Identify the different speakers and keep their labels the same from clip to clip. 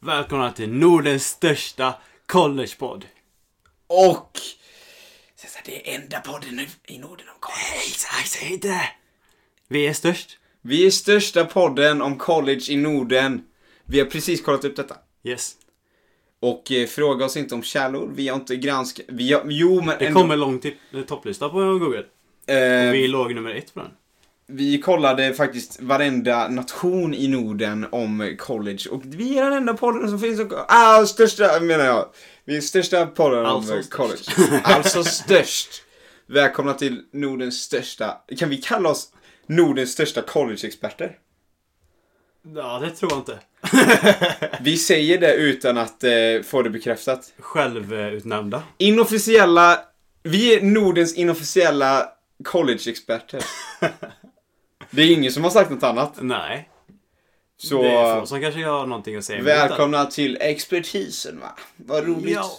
Speaker 1: Välkomna till Nordens största collegepodd.
Speaker 2: Och... Så så här, det är enda podden nu i Norden om college.
Speaker 1: Nej, säg- säg inte det! Vi är störst.
Speaker 2: Vi är största podden om college i Norden. Vi har precis kollat upp detta.
Speaker 1: Yes.
Speaker 2: Och eh, fråga oss inte om källor, vi har inte granskat... Vi har, jo men
Speaker 1: Det
Speaker 2: ändå,
Speaker 1: kom en lång tip- eh, topplista på Google.
Speaker 2: eh,
Speaker 1: Vi
Speaker 2: vi...
Speaker 1: låg nummer ett på den.
Speaker 2: kollade faktiskt varenda nation i Norden om college. Och vi är den enda podden som finns om... Ah, största menar jag. Vi är största podden
Speaker 1: Alltså
Speaker 2: om eh,
Speaker 1: störst.
Speaker 2: college. Alltså störst. Välkomna till Nordens största... Kan vi kalla oss Nordens största collegeexperter?
Speaker 1: Ja, det tror jag inte.
Speaker 2: Vi säger det utan att eh, få det bekräftat.
Speaker 1: Självutnämnda.
Speaker 2: Inofficiella, vi är Nordens inofficiella collegeexperter. Det är ingen som har sagt något annat.
Speaker 1: Nej.
Speaker 2: Så
Speaker 1: Det är få som kanske har någonting att säga emot det.
Speaker 2: välkomna till expertisen va. Vad roligt.
Speaker 1: Ja.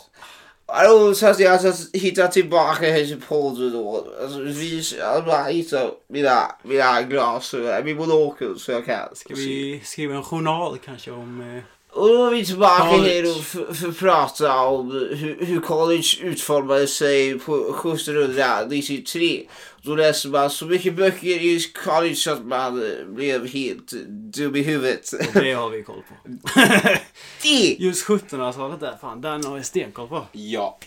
Speaker 2: Alltså, så att jag alltså, hittar tillbaka till podden då. Alltså, vi jag bara hittar mina, mina glas och min monokel så jag kan.
Speaker 1: Ska vi skriva en journal kanske om... eh,
Speaker 2: Och då är vi tillbaka
Speaker 1: College.
Speaker 2: här och f- för att prata om hur, hur college utformade sig på 1793. Då läste man så mycket böcker i college så att man eh, blev helt dum i huvudet.
Speaker 1: Det har vi koll på.
Speaker 2: Det!
Speaker 1: Just 1700-talet där, fan, den har jag stenkoll på.
Speaker 2: Ja.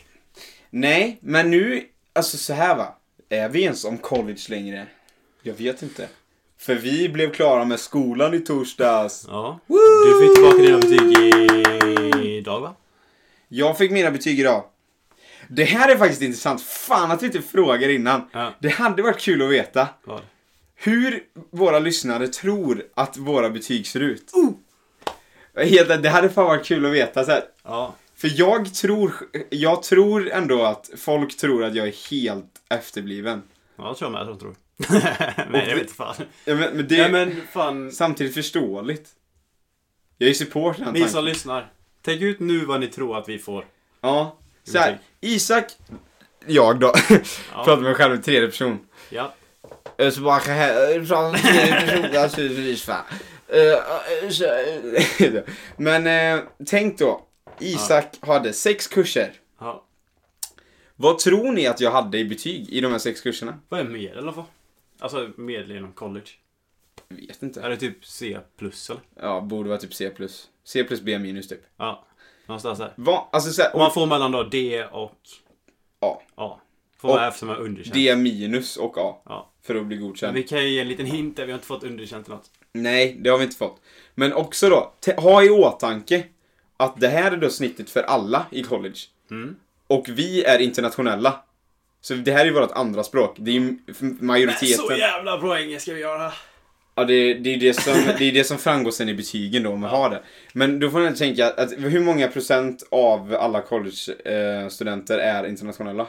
Speaker 2: Nej, men nu, alltså så här va. Är vi ens om college längre? Jag vet inte. För vi blev klara med skolan i torsdags.
Speaker 1: Ja. Du fick tillbaka dina betyg i- idag va?
Speaker 2: Jag fick mina betyg idag. Det här är faktiskt intressant. Fan att vi inte frågar innan.
Speaker 1: Ja.
Speaker 2: Det hade varit kul att veta
Speaker 1: Vad?
Speaker 2: hur våra lyssnare tror att våra betyg ser ut.
Speaker 1: Oh!
Speaker 2: Helt, det hade fan varit kul att veta. Så här.
Speaker 1: Ja.
Speaker 2: För jag tror, jag tror ändå att folk tror att jag är helt efterbliven.
Speaker 1: Ja, det tror jag med att de tror. Nej, det vet fan.
Speaker 2: Ja, men, men det
Speaker 1: Nej
Speaker 2: är
Speaker 1: men fan,
Speaker 2: samtidigt förståeligt. Jag är support den här
Speaker 1: ni som
Speaker 2: tanken.
Speaker 1: lyssnar. Tänk ut nu vad ni tror att vi får.
Speaker 2: Ja. Så här, Isak, jag då, pratar med mig själv i tredje person.
Speaker 1: Ja.
Speaker 2: Eh, Så bara här, från personliga naturligtvis va. Eh, så- Men eh, tänk då, Isak hade sex kurser.
Speaker 1: ja.
Speaker 2: Vad tror ni att jag hade i betyg i de här sex kurserna?
Speaker 1: Vad är medel då? för? Alltså medel inom college.
Speaker 2: Jag vet inte.
Speaker 1: Är det typ C plus eller?
Speaker 2: Ja, borde vara typ C+. C plus B minus typ.
Speaker 1: Ja. Någonstans där.
Speaker 2: Va? Alltså såhär,
Speaker 1: Om man får mellan då D och
Speaker 2: A.
Speaker 1: A. Får man
Speaker 2: Och
Speaker 1: F som är underkänt.
Speaker 2: D minus och A.
Speaker 1: Ja.
Speaker 2: För att bli
Speaker 1: Men
Speaker 2: godkänd.
Speaker 1: vi kan ju ge en liten hint där, vi har inte fått underkänt i något.
Speaker 2: Nej, det har vi inte fått. Men också då, te- ha i åtanke att det här är då snittet för alla i college.
Speaker 1: Mm.
Speaker 2: Och vi är internationella. Så det här är ju vårt andra språk. Det är ju m- f- majoriteten.
Speaker 1: Så jävla bra engelska vi gör här.
Speaker 2: Ja, det, det, är det, som, det är det som framgår sen i betygen då, om man har det. Men då får man tänka, att hur många procent av alla college-studenter är internationella?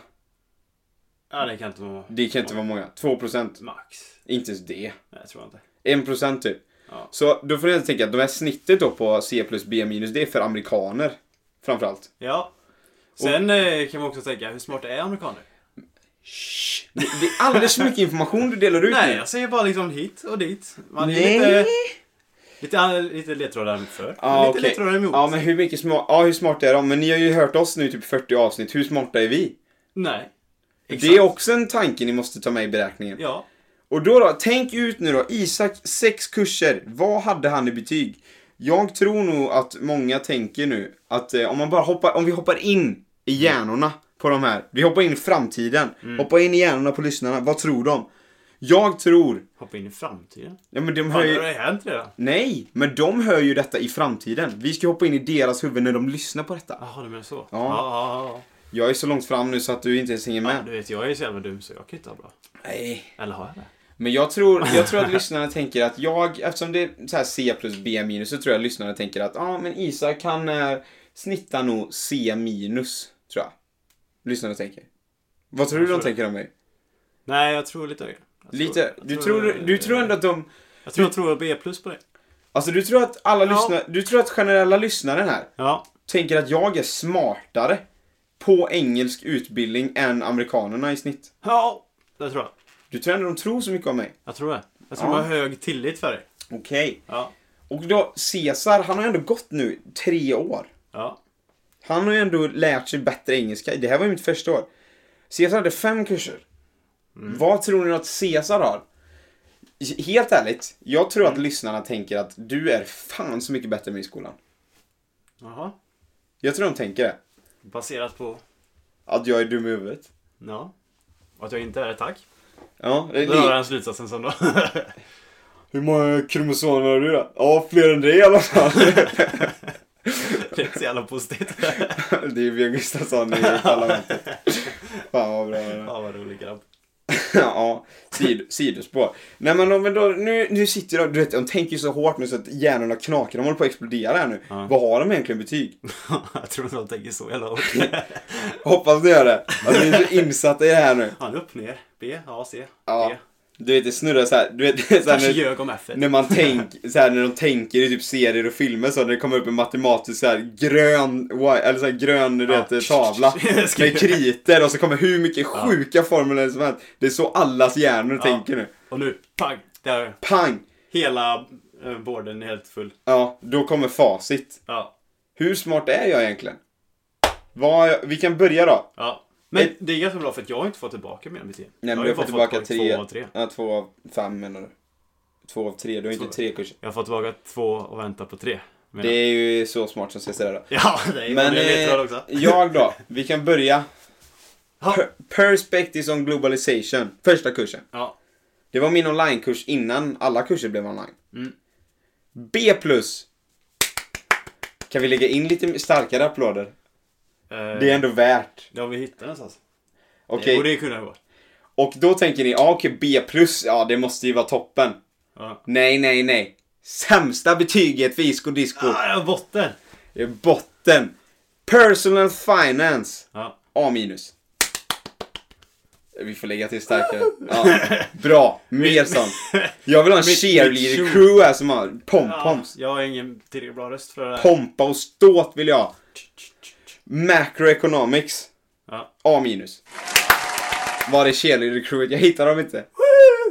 Speaker 1: Ja, det kan inte vara
Speaker 2: Det kan inte vara många. Två procent.
Speaker 1: max.
Speaker 2: Inte ens det.
Speaker 1: Nej, jag tror inte.
Speaker 2: En procent typ.
Speaker 1: Ja.
Speaker 2: Så då får ni tänka att de här snittet då på C plus B minus det är för amerikaner. Framförallt.
Speaker 1: Ja. Sen eh, kan man också tänka, hur smarta är amerikaner?
Speaker 2: Det det är alldeles för mycket information du delar ut
Speaker 1: Nej,
Speaker 2: nu.
Speaker 1: jag säger bara liksom hit och dit. Man är
Speaker 2: Nej.
Speaker 1: lite... Lite, lite ledtrådar för.
Speaker 2: Ja,
Speaker 1: lite
Speaker 2: okej.
Speaker 1: ledtrådar emot.
Speaker 2: Ja, men hur mycket smart, ja hur smarta är de? Men ni har ju hört oss nu i typ 40 avsnitt. Hur smarta är vi?
Speaker 1: Nej.
Speaker 2: Det är också en tanke ni måste ta med i beräkningen.
Speaker 1: Ja.
Speaker 2: Och då då, tänk ut nu då. Isak, sex kurser. Vad hade han i betyg? Jag tror nog att många tänker nu att eh, om man bara hoppar, om vi hoppar in i hjärnorna på de här. Vi hoppar in i framtiden. Hoppa in i hjärnorna på lyssnarna. Vad tror de? Jag tror,
Speaker 1: Hoppa in i framtiden.
Speaker 2: ja men de
Speaker 1: Fan,
Speaker 2: hör
Speaker 1: det
Speaker 2: ju,
Speaker 1: har ju hänt redan.
Speaker 2: nej, men de hör ju detta i framtiden. Vi ska hoppa in i deras huvud när de lyssnar på detta.
Speaker 1: Jaha, du menar så?
Speaker 2: Ja.
Speaker 1: ja, ja,
Speaker 2: Jag är så långt fram nu så att du inte ens hänger
Speaker 1: ja.
Speaker 2: med.
Speaker 1: Du vet, jag är så jävla dum så jag kan inte ha bra.
Speaker 2: Nej.
Speaker 1: Eller har jag det?
Speaker 2: Men jag tror, jag tror att lyssnarna tänker att jag, eftersom det är så här C plus B minus, så tror jag lyssnarna tänker att ja, ah, men Isak kan eh, snitta nog C minus, tror jag. Lyssnarna tänker. Vad tror du
Speaker 1: Jag
Speaker 2: de
Speaker 1: tror det.
Speaker 2: tänker om mig?
Speaker 1: Nej, jag tror lite högre. Jag tror-
Speaker 2: Lite,
Speaker 1: jag
Speaker 2: du tror, du tror ändå att de,
Speaker 1: Jag tror jag tror B plus på det.
Speaker 2: alltså du tror att alla
Speaker 1: Ja.
Speaker 2: lyssnare, du tror att generella lyssnaren här
Speaker 1: Ja.
Speaker 2: tänker att jag är smartare på engelsk utbildning än amerikanerna i snitt.
Speaker 1: Ja. Det tror jag.
Speaker 2: Du tror ändå de tror så mycket om mig?
Speaker 1: Jag tror det. Jag tror
Speaker 2: Ja.
Speaker 1: de har hög tillit för dig.
Speaker 2: Okej.
Speaker 1: Ja.
Speaker 2: Och då, Cesar, han har ju ändå gått nu tre år.
Speaker 1: Ja.
Speaker 2: Han har ju ändå lärt sig bättre engelska. Det här var ju mitt första år. Cesar hade fem kurser. Vad tror ni att Cesar har? Helt ärligt, jag tror att lyssnarna tänker att du är fan så mycket bättre än mig i skolan.
Speaker 1: Jaha.
Speaker 2: Jag tror de tänker det.
Speaker 1: Baserat på...
Speaker 2: Att jag är dum i huvudet.
Speaker 1: Ja. Och att jag inte är tack.
Speaker 2: Ja, det är
Speaker 1: Då drar
Speaker 2: li-
Speaker 1: han slutsatsen som då.
Speaker 2: Hur många kromosomer har du då? Ja, fler än dig i alla fall.
Speaker 1: det är så jävla positivt.
Speaker 2: det är Björn Gustafsson i Parlamentet. Fan vad bra det är.
Speaker 1: ja, vad rolig grabb.
Speaker 2: ja, sid, sidospår. Nej men, om vi då, nu, nu sitter de, du vet, de tänker ju så hårt nu så att hjärnorna knakar, de håller på att explodera här nu.
Speaker 1: Ja.
Speaker 2: Vad har de egentligen betyg?
Speaker 1: jag tror inte de tänker så jävla hårt.
Speaker 2: Hoppas ni gör det. Att ni är så insatta i det här nu.
Speaker 1: Han upp, ner, B, A, C,
Speaker 2: Ja.
Speaker 1: D.
Speaker 2: Du vet det snurrar så här, du vet så här,
Speaker 1: Kanske
Speaker 2: när,
Speaker 1: ljög om F.
Speaker 2: när man tänk, så här, när de tänker i typ serier och filmer så när det kommer upp en matematisk så här grön, wi- eller så här grön du
Speaker 1: Ja.
Speaker 2: vet, eh, tavla
Speaker 1: Skriver.
Speaker 2: med kriter och så kommer hur mycket sjuka formler som helst. Det är så allas hjärnor
Speaker 1: Ja.
Speaker 2: tänker nu.
Speaker 1: Och nu, pang! Där är
Speaker 2: Pang!
Speaker 1: hela eh, borden är helt full.
Speaker 2: Ja, då kommer facit.
Speaker 1: Ja.
Speaker 2: Hur smart är jag egentligen? Vad, vi kan börja då.
Speaker 1: ja. Men
Speaker 2: Ett-
Speaker 1: det är ganska bra för att jag har inte fått tillbaka mina betyg.
Speaker 2: Nej,
Speaker 1: E.
Speaker 2: men
Speaker 1: har
Speaker 2: du
Speaker 1: ju
Speaker 2: har fått
Speaker 1: bara
Speaker 2: tillbaka
Speaker 1: två
Speaker 2: tre.
Speaker 1: av tre.
Speaker 2: Ja, två av fem menar du. Två av tre, du har inte
Speaker 1: Två.
Speaker 2: tre kurser.
Speaker 1: Jag har fått tillbaka två och väntar på tre. Men-
Speaker 2: Det är ju så smart som ska säga det då.
Speaker 1: Ja, det är men,
Speaker 2: Men
Speaker 1: det vet jag
Speaker 2: eh,
Speaker 1: också.
Speaker 2: jag då, vi kan börja.
Speaker 1: Ja.
Speaker 2: Per- Perspectives on globalization, första kursen.
Speaker 1: Ja.
Speaker 2: Det var min onlinekurs innan alla kurser blev online.
Speaker 1: Mm.
Speaker 2: B plus! Kan vi lägga in lite starkare applåder?
Speaker 1: Eh,
Speaker 2: Det är ändå värt.
Speaker 1: Det har vi hittat någonstans. Det
Speaker 2: Okej,
Speaker 1: borde ju kunna gå.
Speaker 2: och då tänker ni, ja okej B plus, ja det måste ju vara toppen.
Speaker 1: Ja.
Speaker 2: Nej, nej, nej. Sämsta betyget för Isco Disco.
Speaker 1: Ah, jag har botten!
Speaker 2: Det är botten. Personal Finance.
Speaker 1: Ja.
Speaker 2: A minus. Vi får lägga till starkare. Ja. Bra. Mer sånt. Jag vill ha en
Speaker 1: mitt- mitt tjo.
Speaker 2: cheerleader-crew här som har
Speaker 1: Ja,
Speaker 2: pompoms.
Speaker 1: Jag har ingen tillräckligt bra röst för det där.
Speaker 2: Pompa och ståt vill jag ha. Macroeconomics.
Speaker 1: Ja.
Speaker 2: A minus. Var är cheerleader-crewet? Jag hittar dem inte.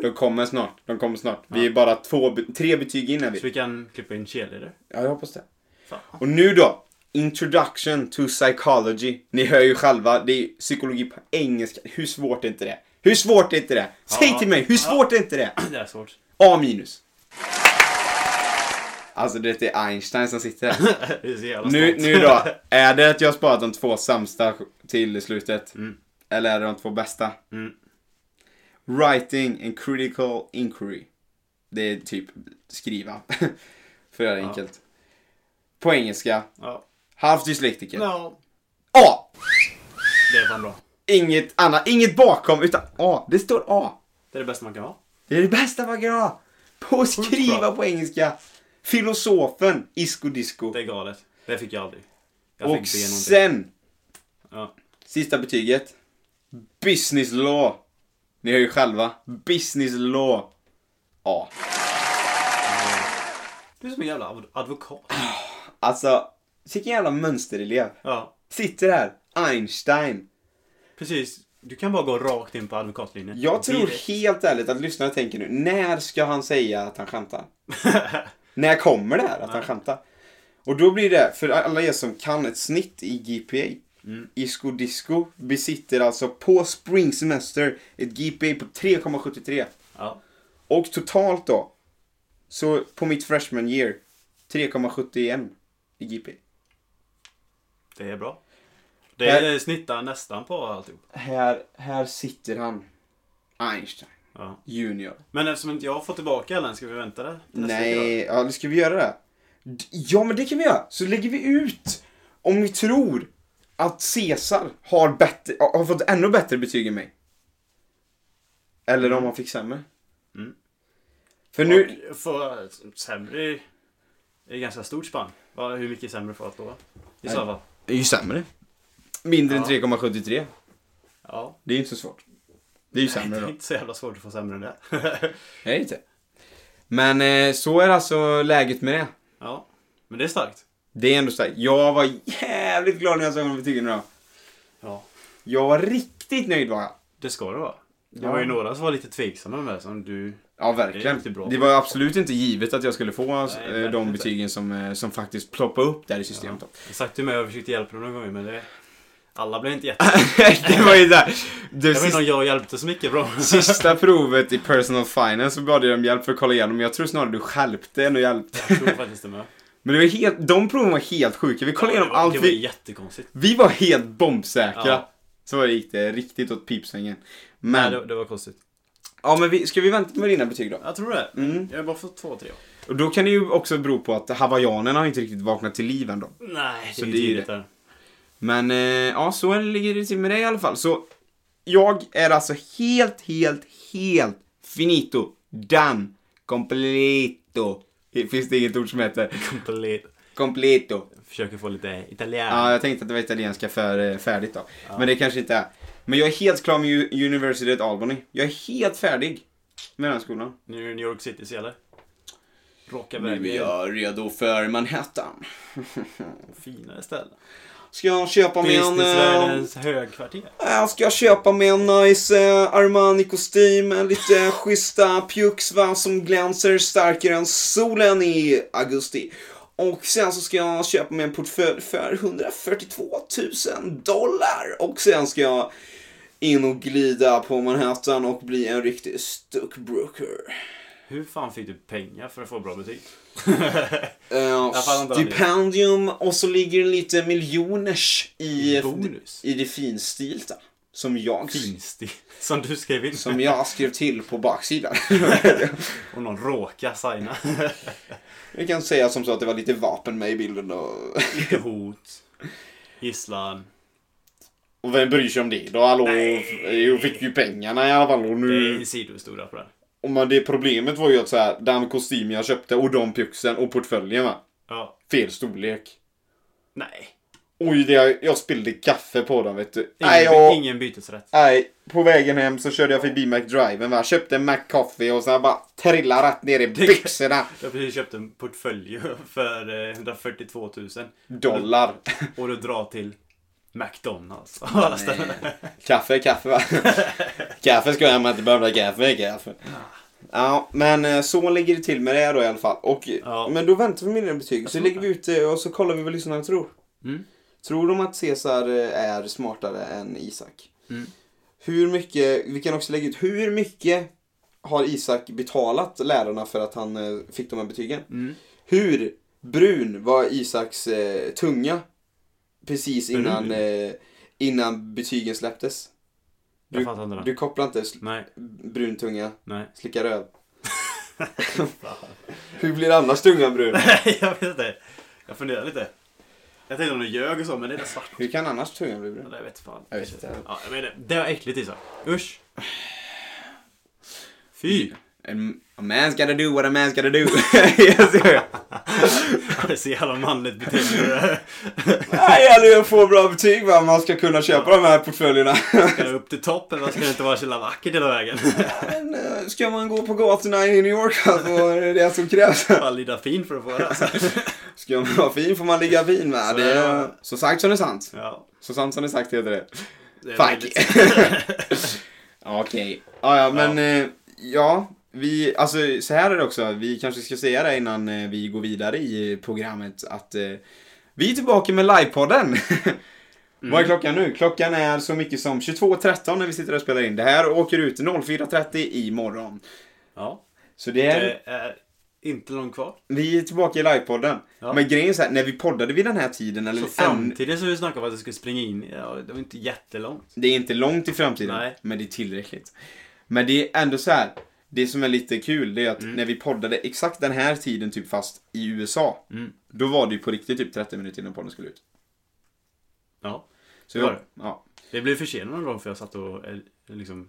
Speaker 2: De kommer snart. De kommer snart. Vi är bara två, be- tre betyg innan vi.
Speaker 1: Så vi kan klippa in cheerleader.
Speaker 2: Ja, jag hoppas det.
Speaker 1: Fan.
Speaker 2: Och nu då! Introduction to psychology. Ni hör ju själva, det är psykologi på engelska. Hur svårt är inte det? Hur svårt är inte det? Säg
Speaker 1: Ja.
Speaker 2: till mig, hur svårt är inte det?
Speaker 1: Det är svårt.
Speaker 2: A minus. Alltså det är Einstein som sitter här.
Speaker 1: Det är så jävla
Speaker 2: Nu,
Speaker 1: stolt.
Speaker 2: nu då, är det att jag har sparat de två sämsta till slutet? Eller är det de två bästa?
Speaker 1: Mm.
Speaker 2: Writing and critical inquiry. Det är typ skriva. För att göra det enkelt. På engelska,
Speaker 1: Ja.
Speaker 2: halvt dyslektiker.
Speaker 1: Ja.
Speaker 2: A!
Speaker 1: Det är fan bra.
Speaker 2: Inget annat, inget bakom utan A. Det står A.
Speaker 1: Det är det bästa man kan ha.
Speaker 2: Det är det bästa man kan ha. På att skriva
Speaker 1: bra.
Speaker 2: på engelska. Filosofen Isco Disco.
Speaker 1: Det är galet. Det fick jag aldrig. Jag
Speaker 2: Och
Speaker 1: fick B någonting.
Speaker 2: sen,
Speaker 1: Ja.
Speaker 2: sista betyget. Business law. Ni hör ju själva. Business law. A.
Speaker 1: Du är som en jävla adv- advokat.
Speaker 2: Alltså, vilken jävla mönsterelev.
Speaker 1: Ja.
Speaker 2: Sitter här, Einstein.
Speaker 1: Precis. Du kan bara gå rakt in på advokatlinjen.
Speaker 2: Jag tror
Speaker 1: Direkt.
Speaker 2: helt ärligt att lyssnarna tänker nu, när ska han säga att han skämtar? När kommer det här att han skämtar? Och då blir det, för alla er som kan ett snitt i GPA. Isco Disco besitter alltså på Spring Semester ett GPA på 3,73.
Speaker 1: Ja.
Speaker 2: Och totalt då, så på mitt freshman year, 3,71 i GPA.
Speaker 1: Det är bra. Det är, snittar nästan på alltihop.
Speaker 2: Här, här sitter han. Einstein
Speaker 1: Ja.
Speaker 2: Junior.
Speaker 1: Men eftersom inte jag har fått tillbaka alla än, ska vi vänta där? till nästa vecka
Speaker 2: Nej, ja, ska vi göra det? D- Ja, men det kan vi göra. Så lägger vi ut om vi tror att Caesar har, bättre, har fått ännu bättre betyg än mig. Eller om han fick sämre.
Speaker 1: Mm.
Speaker 2: För
Speaker 1: då?
Speaker 2: nu,
Speaker 1: Och För sämre är ett ganska stort spann. Va, Hur mycket sämre får jag då? I så fall.
Speaker 2: det är ju sämre. Mindre
Speaker 1: Ja.
Speaker 2: än 3,73.
Speaker 1: Ja.
Speaker 2: Det är ju inte så svårt. Det är ju
Speaker 1: Det
Speaker 2: sämre
Speaker 1: är
Speaker 2: då.
Speaker 1: inte så jävla svårt att få sämre än det.
Speaker 2: Jag är inte. Men eh, så är alltså läget med det.
Speaker 1: ja. Men det är starkt.
Speaker 2: Det är ändå så här, jag var jävligt glad när jag såg betygen idag.
Speaker 1: Ja.
Speaker 2: Jag var riktigt nöjd var jag.
Speaker 1: Det ska det vara. Det
Speaker 2: Ja.
Speaker 1: var ju några som var lite tveksamma med som du
Speaker 2: Ja,
Speaker 1: Det är
Speaker 2: verkligen.
Speaker 1: inte bra.
Speaker 2: Det var absolut inte givet att jag skulle få eh,
Speaker 1: verkligen
Speaker 2: de
Speaker 1: inte.
Speaker 2: betygen som, eh, som faktiskt ploppade upp där i systemet.
Speaker 1: Jag sagt ju med och försökte hjälpa dem någon gång men det... Alla blev inte jätte...
Speaker 2: det var ju där. Det
Speaker 1: Jag vet inte
Speaker 2: sista,
Speaker 1: om jag hjälpte så mycket bra.
Speaker 2: sista provet i personal finance så bad jag om hjälp för att kolla igenom. Men jag tror snarare du stjälpte än att hjälpte.
Speaker 1: Jag tror faktiskt det med.
Speaker 2: Men det var helt, de proven var helt sjuka. Vi kollade
Speaker 1: Ja,
Speaker 2: igenom
Speaker 1: det var-
Speaker 2: allt.
Speaker 1: Det var
Speaker 2: Vi,
Speaker 1: jättekonstigt.
Speaker 2: vi var helt bombsäkra.
Speaker 1: Ja.
Speaker 2: Så gick det riktigt åt pipsvängen.
Speaker 1: Nej,
Speaker 2: Men,
Speaker 1: det, det var konstigt.
Speaker 2: ja, men vi, ska vi vänta med dina betyg då?
Speaker 1: Jag tror det.
Speaker 2: Mm.
Speaker 1: Jag har bara fått två, tre.
Speaker 2: Och då kan det ju också bero på att hawaiianerna har inte riktigt vaknat till liv än då.
Speaker 1: Nej,
Speaker 2: Så
Speaker 1: det är ju
Speaker 2: det är ju
Speaker 1: tidigt där.
Speaker 2: Men eh, ja, så är det- ligger det till med dig i alla fall. Så jag är alltså helt, helt, helt finito. Done. Completo. Det Finns det inget ord som heter
Speaker 1: Komplett.
Speaker 2: completo?
Speaker 1: Försöker få lite italiensk.
Speaker 2: Ja, jag tänkte att det var italienska för eh, färdigt då. Men det kanske inte är. Men jag är helt klar med U- University at Albany. Jag är helt färdig med den här skolan.
Speaker 1: Nu är det New York City så gäller. Rocka vägen.
Speaker 2: jag redo för Manhattan.
Speaker 1: Finare ställe.
Speaker 2: Ska jag köpa mig en... eh,
Speaker 1: Businessvärldens högkvarter.
Speaker 2: Äh, ska jag köpa mig en nice eh, Armani-kostym, en lite schyssta pjucks va, som glänser starkare än solen i augusti. Och sen så ska jag köpa mig en portfölj för 142 000 dollar. Och sen ska jag in och glida på Manhattan och bli en riktig stuckbrooker.
Speaker 1: Hur fan fick du pengar för att få bra betyg?
Speaker 2: Eh,
Speaker 1: Jag fattar inte vad det är.
Speaker 2: stipendium och så ligger det lite miljoners i,
Speaker 1: Bonus.
Speaker 2: i det finstilta. Som jag
Speaker 1: Finstil. Som du skrev in.
Speaker 2: Som jag skrev till på baksidan.
Speaker 1: Och någon råkar signa.
Speaker 2: Vi kan säga som så att det var lite vapen med i bilden och...
Speaker 1: Lite hot.
Speaker 2: Mm.
Speaker 1: Gisslan.
Speaker 2: Och vem bryr sig om det då? Hallå? Jag fick ju pengarna i alla fall och
Speaker 1: Det
Speaker 2: nu...
Speaker 1: är sidohistoria på det här.
Speaker 2: Och man, det problemet var ju att så här, den kostym jag köpte och de pjuxen och portföljen va?
Speaker 1: Ja.
Speaker 2: Fel storlek.
Speaker 1: Nej.
Speaker 2: Oj, det, jag, jag spillde kaffe på dem vet du.
Speaker 1: Ingen,
Speaker 2: Nej, jag,
Speaker 1: ingen bytesrätt.
Speaker 2: nej, på vägen hem så körde jag förbi McDriven va. Köpte en McCoffee och sen bara trillade rätt ner i byxorna.
Speaker 1: Jag har precis köpt en portfölj för eh, 142 000.
Speaker 2: Dollar.
Speaker 1: Och du drar till McDonalds. Av alla ställen.
Speaker 2: Kaffe, kaffe va? kaffe ska jag hem, inte behöver kaffe, kaffe. Ja, men eh, så ligger det till med det då i alla fall. Och,
Speaker 1: Ja.
Speaker 2: Men då väntar vi med mina betyg. Så
Speaker 1: tror
Speaker 2: lägger vi ut det och så kollar vi vad lyssnarna tror.
Speaker 1: Mm.
Speaker 2: Tror de att Cesar eh, är smartare än Isak?
Speaker 1: Mm.
Speaker 2: Hur mycket, vi kan också lägga ut, hur mycket har Isak betalat lärarna för att han eh, fick de här betygen?
Speaker 1: Mm.
Speaker 2: Hur brun var Isaks eh, tunga precis
Speaker 1: Brun?
Speaker 2: innan, eh, innan betygen släpptes?
Speaker 1: Jag fattar inte det.
Speaker 2: Du kopplar inte sl-
Speaker 1: Nej,
Speaker 2: brun tunga,
Speaker 1: nej.
Speaker 2: slicka röv. Hur blir annars tungan brun?
Speaker 1: jag vet inte. Jag funderar lite. Jag tänkte om du ljög och så, men det är svart.
Speaker 2: Hur kan annars tungan bli
Speaker 1: Ja,
Speaker 2: brun?
Speaker 1: Jag vet fan.
Speaker 2: Jag vet inte.
Speaker 1: Ja, jag menar, det var äckligt Isak. Usch. Fy.
Speaker 2: A man's gotta do what a man's gotta do. jag ser.
Speaker 1: Det är så jävla manligt beteende.
Speaker 2: Nej, det gäller ju att få bra betyg va, om man ska kunna köpa de här portföljerna.
Speaker 1: Ska jag upp till toppen? Vad ska det inte vara så jävla vackert hela vägen?
Speaker 2: Men, eh, ska man gå på gatorna i New York va, så är det det som krävs.
Speaker 1: Fan lida fin för att få det alltså.
Speaker 2: Ska man vara fin får man ligga fin va. Det är, så sagt som det är sant.
Speaker 1: Ja.
Speaker 2: Så sant som det är sagt heter det.
Speaker 1: det är
Speaker 2: Fuck.
Speaker 1: väldigt-
Speaker 2: Okej. Ja, ja, men eh, ja. Vi, alltså så här är det också. Vi kanske ska säga det innan eh, vi går vidare i eh, programmet att eh, vi är tillbaka med livepodden.
Speaker 1: Mm.
Speaker 2: Vad är klockan nu? Klockan är så mycket som 22.13 när vi sitter och spelar in. Det här åker ut 04.30 imorgon.
Speaker 1: Ja.
Speaker 2: Så det är,
Speaker 1: Det är inte långt kvar.
Speaker 2: vi är tillbaka i livepodden.
Speaker 1: Ja.
Speaker 2: Men grejen är så här, när vi poddade vid den här tiden eller
Speaker 1: Så
Speaker 2: än-
Speaker 1: framtiden som vi snackade om att det skulle springa in i, ja, det var inte jättelångt.
Speaker 2: Det är inte långt i framtiden,
Speaker 1: Nej.
Speaker 2: men det är tillräckligt. Men det är ändå så här. Det som är lite kul det är
Speaker 1: Mm.
Speaker 2: att när vi poddade exakt den här tiden typ fast i USA.
Speaker 1: Mm.
Speaker 2: Då var det ju på riktigt typ 30 minuter innan podden skulle ut.
Speaker 1: Ja.
Speaker 2: Så
Speaker 1: Det var
Speaker 2: jag- Ja.
Speaker 1: Det blev försenat någon gång för jag satt och eh, liksom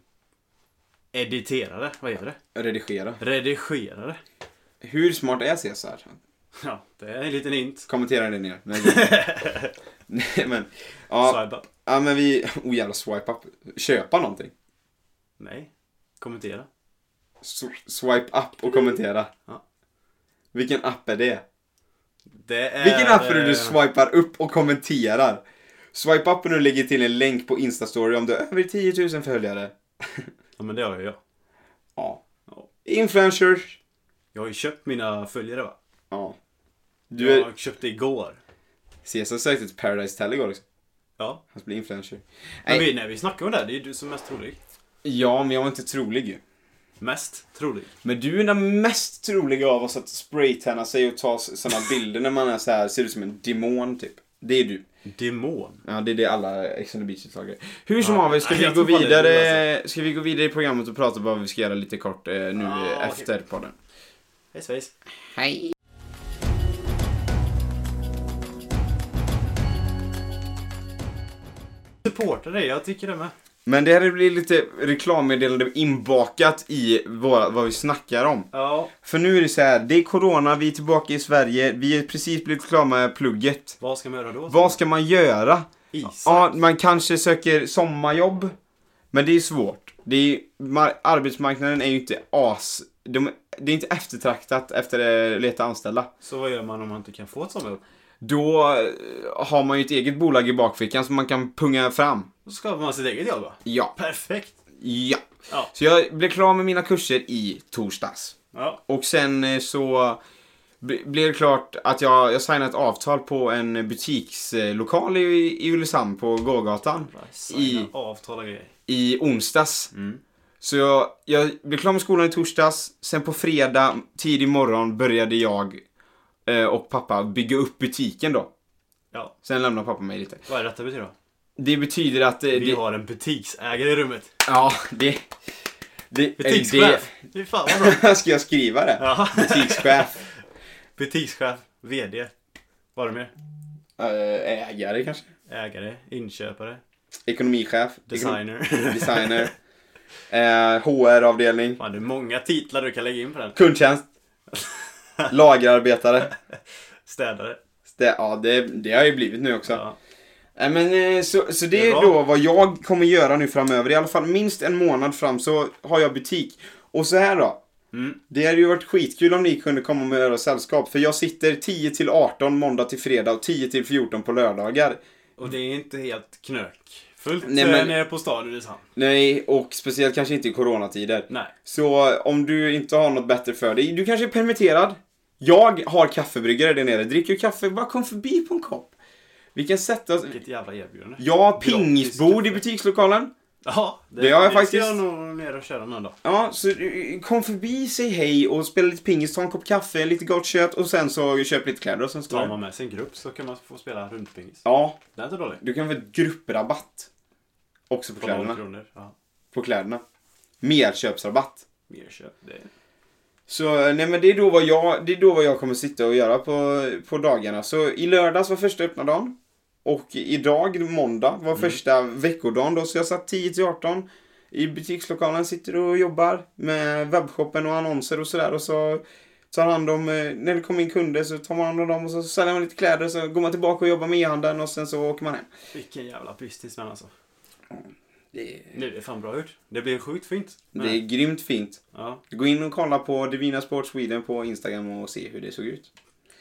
Speaker 1: editerade. Vad heter det?
Speaker 2: Redigera.
Speaker 1: Redigerade.
Speaker 2: Hur smart är Cesar?
Speaker 1: Ja, det är en liten hint.
Speaker 2: Kommentera det ner. Nej, gud. Nej men. Ja,
Speaker 1: Swipe up.
Speaker 2: ja men vi. Oh jävla swipe up. Köpa någonting.
Speaker 1: Nej. Kommentera.
Speaker 2: Sw- Swipe up och kommentera.
Speaker 1: Ja.
Speaker 2: Vilken app är det?
Speaker 1: Det är...
Speaker 2: Vilken app är det du
Speaker 1: eh,
Speaker 2: swipar upp och kommenterar? Swipe up och nu lägger till en länk på Instastory om du har över 10 000 följare.
Speaker 1: Ja, men det har jag ju.
Speaker 2: Ja.
Speaker 1: Ja.
Speaker 2: Influencers.
Speaker 1: Jag har ju köpt mina följare va?
Speaker 2: Ja. Du är...
Speaker 1: Jag köpte igår.
Speaker 2: Cesar sökte till Paradise Tell igår också.
Speaker 1: Ja.
Speaker 2: Han skulle bli influencer.
Speaker 1: Men
Speaker 2: Nej.
Speaker 1: vi, nej, vi snackar om det här. Det är ju du som är mest trolig.
Speaker 2: Ja, men jag var inte trolig ju.
Speaker 1: Mest trolig.
Speaker 2: Men du är den mest troliga av oss att spraytanna sig och ta sådana bilder när man är så här, ser ut som en demon typ. Det är du.
Speaker 1: Demon.
Speaker 2: Ja, det är det alla Ex on the Beach-deltagare. Hur som
Speaker 1: Ja.
Speaker 2: haver, ska
Speaker 1: Nej,
Speaker 2: vi
Speaker 1: jag
Speaker 2: gå
Speaker 1: tror fan det är
Speaker 2: vidare Ska vi gå vidare i programmet och prata om vad vi ska göra lite kort eh, nu
Speaker 1: Ja,
Speaker 2: eh,
Speaker 1: okej.
Speaker 2: efter podden?
Speaker 1: Hej svejs.
Speaker 2: Hej!
Speaker 1: Supporta dig, jag tycker det med.
Speaker 2: Men det här blir lite reklammeddelande inbakat i våra, vad vi snackar om.
Speaker 1: Ja.
Speaker 2: För nu är det så här, det är corona, vi är tillbaka i Sverige, vi har precis blivit klara med plugget.
Speaker 1: Vad ska man göra då?
Speaker 2: Vad ska man göra?
Speaker 1: Is.
Speaker 2: Ja, man kanske söker sommarjobb. Men det är svårt. Det är, ma- arbetsmarknaden är ju inte as... De, det är inte eftertraktat efter eh, leta anställda.
Speaker 1: Så vad gör man om man inte kan få ett sommarjobb?
Speaker 2: Då eh, har man ju ett eget bolag i bakfickan som man kan punga fram.
Speaker 1: Då skapar man sitt eget jobb va?
Speaker 2: Ja,
Speaker 1: Perfekt.
Speaker 2: ja.
Speaker 1: Ja.
Speaker 2: Så jag blev klar med mina kurser i torsdags.
Speaker 1: Ja.
Speaker 2: Och sen eh, så bl- blev det klart att jag, jag signade ett avtal på en butikslokal i, i Ulricehamn på gågatan.
Speaker 1: Signa avtal och grejer.
Speaker 2: I onsdags.
Speaker 1: Mm.
Speaker 2: Så jag, jag blev klar med skolan i torsdags, sen på fredag tidig morgon började jag eh, och pappa bygga upp butiken då.
Speaker 1: Ja.
Speaker 2: Sen lämnade pappa mig lite.
Speaker 1: Vad är detta betyder då?
Speaker 2: Det betyder att... Eh,
Speaker 1: Vi
Speaker 2: det,
Speaker 1: har en butiksägare i rummet.
Speaker 2: Ja, det... det eh,
Speaker 1: Butikschef. Fy fan vad bra.
Speaker 2: det ska jag skriva det?
Speaker 1: Ja.
Speaker 2: Butikschef.
Speaker 1: Butikschef, VD. Vad har du mer?
Speaker 2: Eh, ägare kanske?
Speaker 1: Ägare, inköpare,
Speaker 2: Ekonomichef.
Speaker 1: designer.
Speaker 2: Ekonom- designer. Eh, HR-avdelning.
Speaker 1: Fan, det är många titlar du kan lägga in på den.
Speaker 2: Kundtjänst. Lagerarbetare.
Speaker 1: Städare.
Speaker 2: Det, ja, det, det har ju blivit nu också.
Speaker 1: Ja.
Speaker 2: Nej men eh, så, så det
Speaker 1: Det är
Speaker 2: är
Speaker 1: bra.
Speaker 2: då vad jag kommer göra nu framöver. I alla fall minst en månad fram så har jag butik. Och så här då.
Speaker 1: Mm.
Speaker 2: Det hade ju varit skitkul om ni kunde komma med era sällskap. För jag sitter 10 till 18 måndag till fredag och 10 till 14 på lördagar.
Speaker 1: Och det är inte helt knökfullt
Speaker 2: Nej,
Speaker 1: Nej,
Speaker 2: men-
Speaker 1: nere på staden i Ulricehamn.
Speaker 2: Nej, och speciellt kanske inte i coronatider.
Speaker 1: Nej.
Speaker 2: Så eh, om du inte har något bättre för dig, du kanske är permitterad. Jag har kaffebryggare där nere, dricker kaffe, bara kom förbi på en kopp. Vi kan sätta oss...
Speaker 1: Vilket jävla erbjudande.
Speaker 2: Jag har pingisbord i
Speaker 1: kaffe.
Speaker 2: butikslokalen.
Speaker 1: Ja, det,
Speaker 2: Det har jag
Speaker 1: det
Speaker 2: faktiskt.
Speaker 1: ska jag nog ner och köra någon dag.
Speaker 2: Ja, så eh, kom förbi, säg hej och spela lite pingis, ta en kopp kaffe, lite gott kött och sen så köp lite kläder och sen
Speaker 1: Tar
Speaker 2: står det.
Speaker 1: man med sig en grupp så kan man få spela rundpingis.
Speaker 2: Ja,
Speaker 1: Det är inte dåligt.
Speaker 2: du kan få ett grupprabatt. Också på
Speaker 1: På noll
Speaker 2: kläderna.
Speaker 1: kronor. Ja.
Speaker 2: På kläderna. Merköpsrabatt.
Speaker 1: Mer köp. Det är...
Speaker 2: Så eh, nej men det är då vad jag, det är då vad jag kommer sitta och göra på, på dagarna. Så i lördags var första öppna dagen. Och idag, måndag, var första veckodagen då. Så jag satt 10 till 18 i butikslokalen, sitter och jobbar med webbshoppen och annonser och sådär. Och så tar hand om, eh, när det kommer in kunder så tar man hand om dem och så säljer man lite kläder. Så går man tillbaka och jobbar med e-handeln och sen så åker man hem.
Speaker 1: Vilken jävla businessman alltså.
Speaker 2: Det är,
Speaker 1: Nu är det fan bra gjort. Det blir sjukt fint. Men-
Speaker 2: det är grymt fint.
Speaker 1: Ja.
Speaker 2: Gå in och kolla på Divina Sport Sweden på Instagram och se hur det såg ut.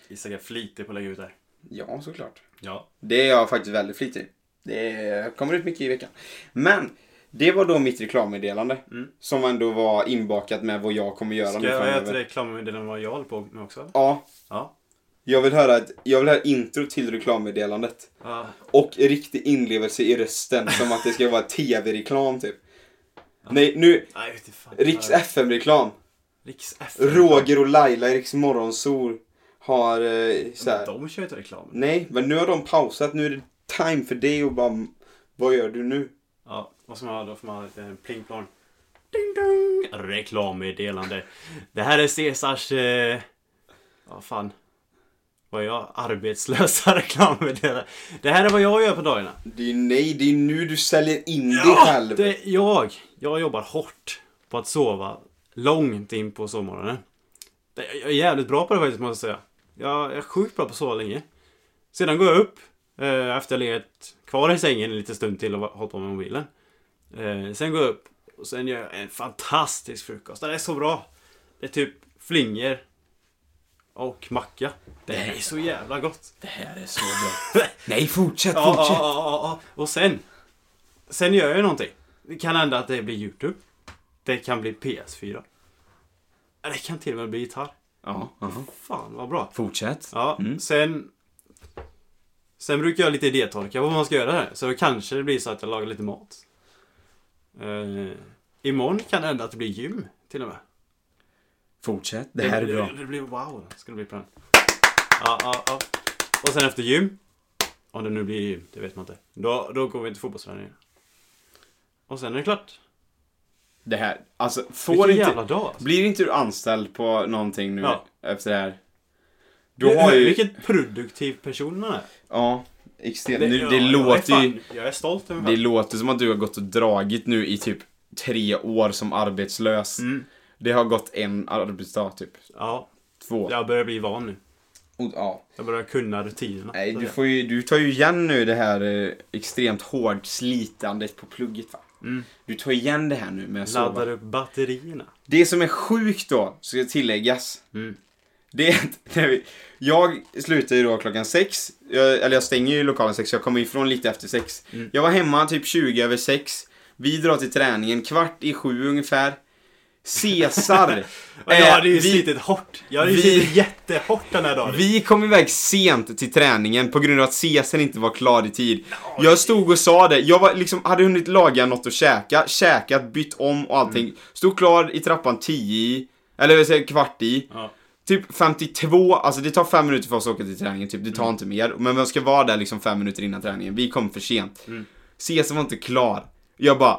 Speaker 1: Isak är flitig på att lägga ut det här.
Speaker 2: Ja, såklart.
Speaker 1: Ja.
Speaker 2: Det är jag faktiskt väldigt flitig. Det kommer ut mycket i veckan. Men det var då mitt reklammeddelande.
Speaker 1: Mm.
Speaker 2: Som ändå var inbakat med vad jag kommer göra
Speaker 1: Ska
Speaker 2: nu
Speaker 1: jag göra ett
Speaker 2: framöver.
Speaker 1: reklammeddelande om vad jag håller på med också?
Speaker 2: Ja,
Speaker 1: Ja.
Speaker 2: jag vill höra ett, jag vill höra intro till reklammeddelandet.
Speaker 1: Ja.
Speaker 2: Och riktig inlevelse i rösten. som att det ska vara tv-reklam typ. Nej, nu.
Speaker 1: Nej, vete fan.
Speaker 2: Riks FM-reklam.
Speaker 1: Riks F.
Speaker 2: Roger och Laila i Riks Morgonzol har eh, så här.
Speaker 1: De kör ju inte reklam.
Speaker 2: Nej, men nu har de pausat. Nu är det time för dig och bara. Vad gör du nu?
Speaker 1: Ja, vad som man ha då? Får man ha lite plingplan. Ding dong! Reklammeddelande. Det här är Cesars... Eh, vad fan. Vad är jag? Arbetslösa reklammeddelande. Det här är vad jag gör på dagarna.
Speaker 2: Det är ju nej, det är nu du säljer in dig
Speaker 1: Ja,
Speaker 2: själv.
Speaker 1: det är jag. Jag jobbar hårt på att sova långt in på sommaren. Jag är jävligt bra på det faktiskt måste jag säga. Jag är sjukt bra på att sova länge. Sedan går jag upp eh, efter att ha legat kvar i sängen en liten stund till och hållit på med mobilen. Eh, sen går jag upp och sen gör jag en fantastisk frukost. Det är så bra. Det är typ flingor och macka. Det är så jävla gott.
Speaker 2: Det här är så bra. nej, fortsätt,
Speaker 1: Ja, ja, ja, ja, ja. Och sen. Sen gör jag någonting. Det kan hända att det blir YouTube. Det kan bli PS4. Ja, Det kan till och med bli gitarr.
Speaker 2: Ja, aha.
Speaker 1: Fan vad bra.
Speaker 2: Fortsätt.
Speaker 1: Ja,
Speaker 2: Mm.
Speaker 1: sen... Sen brukar jag lite idétorka vad man ska göra här. Så då kanske det blir så att jag lagar lite mat. Eh, imorgon kan det hända att det blir gym till och med.
Speaker 2: Fortsätt. Det här är bra.
Speaker 1: Det, det blir wow. Ska det bli på den. Ja, ja, ja. Och sen efter gym. Om det nu blir gym, det vet man inte. Då, då går vi till fotbollsträningen. Och sen är det klart.
Speaker 2: Det här. Alltså, får
Speaker 1: Vilken
Speaker 2: inte...
Speaker 1: jävla dag alltså.
Speaker 2: Blir inte du anställd på någonting nu
Speaker 1: Ja.
Speaker 2: efter det här? Du
Speaker 1: Du
Speaker 2: har ju...
Speaker 1: Vilken produktiv person man är.
Speaker 2: Ja, extremt. Det, nu,
Speaker 1: ja,
Speaker 2: det
Speaker 1: jag är
Speaker 2: låter ju...
Speaker 1: fan- Jag är stolt över
Speaker 2: Det
Speaker 1: mig.
Speaker 2: låter som att du har gått och dragit nu i typ tre år som arbetslös.
Speaker 1: Mm.
Speaker 2: Det har gått en arbetsdag typ.
Speaker 1: Ja,
Speaker 2: Två.
Speaker 1: jag börjar bli van nu.
Speaker 2: Och, ja.
Speaker 1: Jag börjar kunna rutinerna.
Speaker 2: Nej,
Speaker 1: så
Speaker 2: du,
Speaker 1: att
Speaker 2: får ju, du tar ju igen nu det här eh, extremt hårt slitandet på plugget va?
Speaker 1: Mm.
Speaker 2: Du tar igen det här nu med att
Speaker 1: jag
Speaker 2: sova.
Speaker 1: Laddar upp batterierna.
Speaker 2: Det som är sjukt då, ska tilläggas.
Speaker 1: Mm.
Speaker 2: Det är att när vi, jag slutar ju då klockan sex. Jag, eller jag stänger ju lokalen sex, jag kommer ifrån lite efter sex.
Speaker 1: Mm.
Speaker 2: Jag var hemma typ 20 över sex. Vi drar till träningen kvart i sju ungefär. Cesar!
Speaker 1: Och jag hade ju
Speaker 2: Eh, vi-
Speaker 1: slitit hårt. Jag hade ju
Speaker 2: vi-
Speaker 1: slitit jättehårt den här dagen.
Speaker 2: Vi kom iväg sent till träningen på grund av att Cesar inte var klar i tid. Jag stod och sa det, jag var, liksom, hade hunnit laga något att käka, käkat, bytt om och allting. Stod klar i trappan 10 i, eller vad säger jag, kvart i.
Speaker 1: Ja.
Speaker 2: Typ 52, alltså det tar fem minuter för oss att åka till träningen, typ. det
Speaker 1: Mm.
Speaker 2: tar inte mer. Men man ska vara där liksom fem minuter innan träningen, vi kom för sent.
Speaker 1: Mm.
Speaker 2: Cesar var inte klar. Jag bara,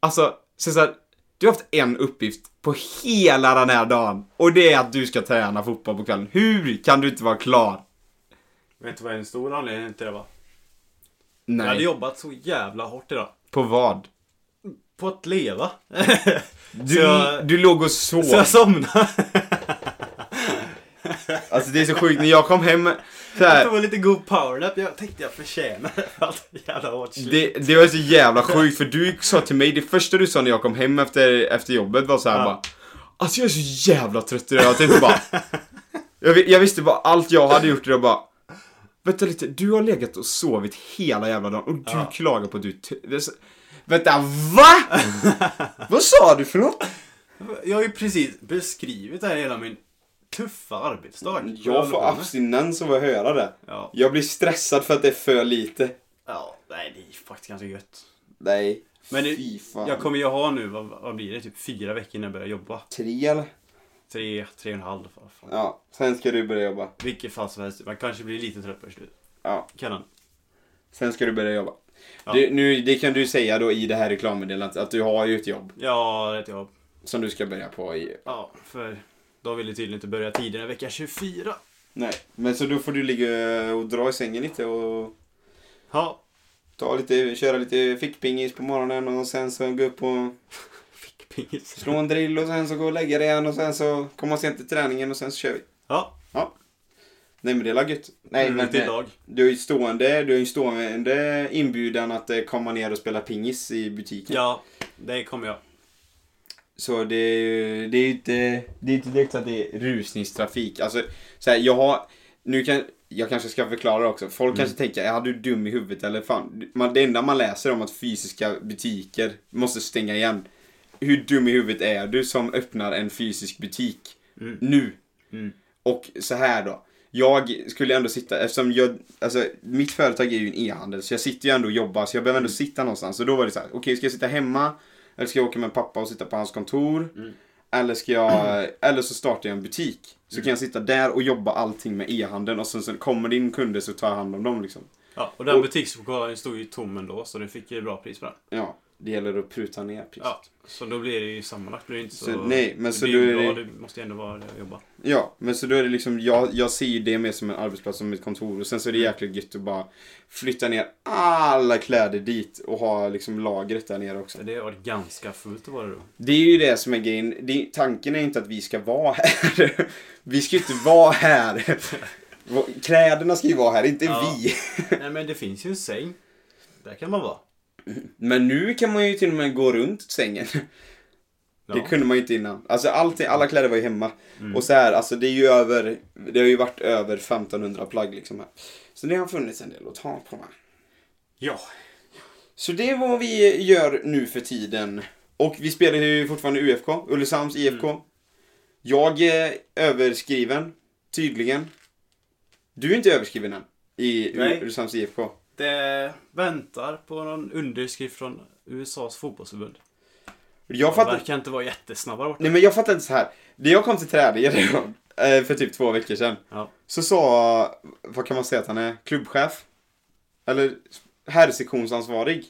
Speaker 2: alltså Cesar, du har haft en uppgift på hela den här dagen. Och det är att du ska träna fotboll på kvällen. Hur kan du inte vara klar?
Speaker 1: Vet du vad en stor anledning till det var? Jag hade
Speaker 2: Nej,
Speaker 1: jobbat så jävla hårt idag.
Speaker 2: på vad?
Speaker 1: På att leva.
Speaker 2: Du,
Speaker 1: Så jag-
Speaker 2: du låg och sov.
Speaker 1: så jag somnade.
Speaker 2: Alltså det är så sjukt, när jag kom hem så
Speaker 1: Jag
Speaker 2: här,
Speaker 1: tog en lite god powernap. Jag tänkte jag förtjänade allt jävla hårt slit.
Speaker 2: det, det var så jävla sjukt för du sa till mig, det första du sa när jag kom hem efter, efter jobbet var så här
Speaker 1: Ja.
Speaker 2: bara Alltså jag är så jävla trött idag, jag tänkte bara jag, vi- jag visste bara allt jag hade gjort idag bara Vänta lite, du har legat och sovit hela jävla dagen och du
Speaker 1: Ja.
Speaker 2: klagar på att du är t- det är så- Vänta, VA? Vad sa du för något?
Speaker 1: Jag har ju precis beskrivit det här hela min tuffa arbetsdag.
Speaker 2: Jag får
Speaker 1: håller på med.
Speaker 2: abstinens av att höra det.
Speaker 1: Ja.
Speaker 2: Jag blir stressad för att det är för lite.
Speaker 1: ja, nej det är faktiskt ganska gött.
Speaker 2: Nej,
Speaker 1: Men det-
Speaker 2: fy fan.
Speaker 1: Jag kommer ju ha nu, vad, vad blir det, typ fyra veckor innan jag börjar jobba.
Speaker 2: Tre eller?
Speaker 1: Tre, tre och en halv. vad fan.
Speaker 2: Ja, sen ska du börja jobba.
Speaker 1: Vilket fall som helst, man kanske blir lite trött på slutet.
Speaker 2: Ja,
Speaker 1: Kan han?
Speaker 2: sen ska du börja jobba.
Speaker 1: Ja.
Speaker 2: Det, nu, det kan du säga då i det här reklammeddelandet att du har ju ett jobb
Speaker 1: Ja, rätt jobb.
Speaker 2: som du ska börja på i...
Speaker 1: Ja, för de ville tydligen inte börja tidigare än vecka 24.
Speaker 2: Nej, men så då får du ligga och dra i sängen lite och
Speaker 1: Ja,
Speaker 2: ta lite, köra lite fickpingis på morgonen och sen så gå upp och
Speaker 1: fick pingis.
Speaker 2: slå en drill och sen så gå och lägga dig igen och sen så komma sent till träningen och sen så kör vi.
Speaker 1: Ja,
Speaker 2: Nej men det är la gött. Nej men
Speaker 1: till
Speaker 2: det,
Speaker 1: dag.
Speaker 2: du är ju stående, du är ju stående inbjudan att eh, komma ner och spela pingis i butiken.
Speaker 1: Ja, det kommer jag.
Speaker 2: Så det är ju det är ju inte, det är inte direkt så att det är rusningstrafik. Alltså, så här, jag har, nu kan, jag kanske ska förklara också. Folk kanske tänker, är du dum i huvudet eller fan? Man, det enda man läser om att fysiska butiker måste stänga igen. Hur dum i huvudet är du som öppnar en fysisk butik
Speaker 1: Mm.
Speaker 2: nu?
Speaker 1: Mm.
Speaker 2: Och så här då. Jag skulle ändå sitta, eftersom jag, alltså mitt företag är ju en e-handel så jag sitter ju ändå och jobbar så jag behöver ändå sitta någonstans. Så då var det så här, okej ska jag sitta hemma? Eller ska jag åka med pappa och sitta på hans kontor? Eller ska jag, eller så startar jag en butik. Så kan jag sitta där och jobba allting med e-handeln och sen, sen kommer det in kunder så tar jag hand om dem liksom.
Speaker 1: Ja, och den
Speaker 2: Och-
Speaker 1: butikspokalen stod ju tom ändå, så du fick ju bra pris på den.
Speaker 2: Ja, det gäller att pruta ner priset.
Speaker 1: Ja, så då blir det ju sammanlagt blir det inte så...
Speaker 2: Så, nej, men
Speaker 1: det
Speaker 2: så
Speaker 1: blir ju
Speaker 2: då är
Speaker 1: bra,
Speaker 2: det-
Speaker 1: det måste ju ändå vara där jag jobbar.
Speaker 2: Ja, men så då är det liksom, jag, jag ser ju det mer som en arbetsplats, som ett kontor. Och sen så är det jäkligt gött att bara flytta ner alla kläder dit och ha liksom lagret där nere också.
Speaker 1: Så det har varit ganska fullt att vara då.
Speaker 2: Det är ju det som är grejen. Det, tanken är inte att vi ska vara här. Vi ska ju inte vara här. Vå- Kläderna ska ju vara här, inte
Speaker 1: Ja.
Speaker 2: vi.
Speaker 1: nej, men det finns ju en säng. Där kan man vara.
Speaker 2: Men nu kan man ju till och med gå runt sängen.
Speaker 1: Ja. Mm.
Speaker 2: Det kunde man ju inte innan. Alltså allting, alla kläder var ju hemma. Och så här, alltså det är ju över, det har ju varit över 1500 plagg liksom här. Så det har funnits en del att ta på. Här.
Speaker 1: ja.
Speaker 2: Så det är vad vi
Speaker 1: Mm.
Speaker 2: gör nu för tiden. Och vi spelar ju fortfarande UFK, Ulricehamns IFK. Jag är överskriven, tydligen. Du är inte överskriven än. I
Speaker 1: Nej.
Speaker 2: Rosams IFK.
Speaker 1: Det väntar på någon underskrift från USAs fotbollsförbund.
Speaker 2: Jag
Speaker 1: De
Speaker 2: fattar,
Speaker 1: verkar inte vara jättesnabba där borta.
Speaker 2: nej men jag fattar inte så här. När jag kom till Trädegren eh, för typ två veckor sedan.
Speaker 1: Ja.
Speaker 2: Så sa, vad kan man säga att han är? Klubbchef? Eller herrsektionsansvarig?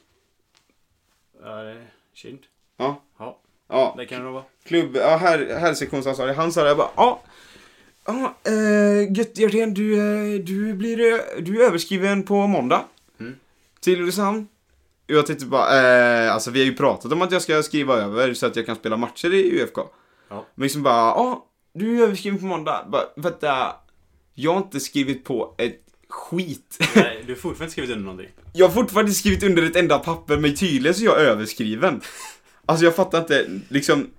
Speaker 1: Ja, det är kind.
Speaker 2: Ja.
Speaker 1: Ja,
Speaker 2: Ja.
Speaker 1: det kan det nog vara.
Speaker 2: klubb, ja, här, här sektionsansvarig, han sa det, jag bara ja. Ja, eh, gött Hjertén, du, eh, du blir eh, du är överskriven på måndag.
Speaker 1: Mm.
Speaker 2: Till Ulricehamn. Jag tänkte bara, eh, alltså vi har ju pratat om att jag ska skriva över så att jag kan spela matcher i UFK.
Speaker 1: Ja.
Speaker 2: Men liksom bara, ja, du är överskriven på måndag. Bara, vänta, jag har inte skrivit på ett skit.
Speaker 1: Nej, du har fortfarande inte skrivit under någonting.
Speaker 2: Jag har fortfarande skrivit under ett enda papper, men tydligen så är jag överskriven. Alltså jag fattar inte, liksom,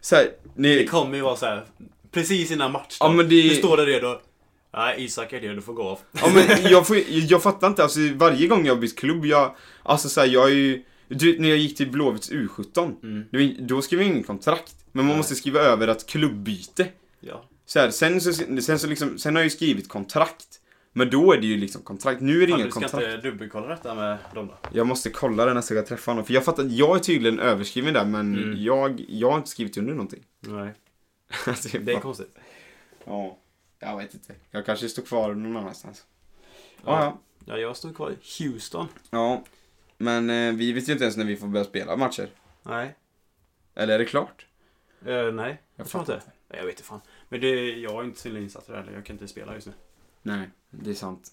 Speaker 2: såhär, ni...
Speaker 1: Det kommer ju vara så här precis innan match. då.
Speaker 2: Ja, men det-
Speaker 1: Du står där redo. Nej, Isak är det, du får gå av.
Speaker 2: Ja men jag, får, jag fattar inte, alltså varje gång jag har bytt klubb, jag, alltså såhär jag är ju, du, vet, när jag gick till Blåvitts U17,
Speaker 1: Mm.
Speaker 2: då, då skrev jag ingen kontrakt, men man
Speaker 1: Nej.
Speaker 2: måste skriva över att klubbyte.
Speaker 1: Ja.
Speaker 2: Så här, sen, så, sen, så liksom, sen har jag ju skrivit kontrakt, men då är det ju liksom kontrakt, nu är det
Speaker 1: Fan,
Speaker 2: inga
Speaker 1: du ska
Speaker 2: kontrakt.
Speaker 1: inte dubbelkolla detta med dem då?
Speaker 2: Jag måste kolla det nästa gång jag träffar honom, för jag fattar, jag är tydligen överskriven där men
Speaker 1: Mm.
Speaker 2: jag, jag har inte skrivit under någonting.
Speaker 1: Nej,
Speaker 2: Alltså, jag
Speaker 1: det är
Speaker 2: bara-
Speaker 1: konstigt.
Speaker 2: Ja, jag vet inte. Jag kanske står kvar någon annanstans. Ja, ja.
Speaker 1: Ja. Ja, jag stod kvar i Houston.
Speaker 2: Ja, men eh, vi vet ju inte ens när vi får börja spela matcher.
Speaker 1: Nej.
Speaker 2: Eller är det klart?
Speaker 1: Eh, nej,
Speaker 2: Jag
Speaker 1: jag tror
Speaker 2: fattar
Speaker 1: inte. Nej, jag vet inte fan. Men det, jag är inte så insatt i det heller. Jag kan inte spela just nu.
Speaker 2: Nej, det är sant.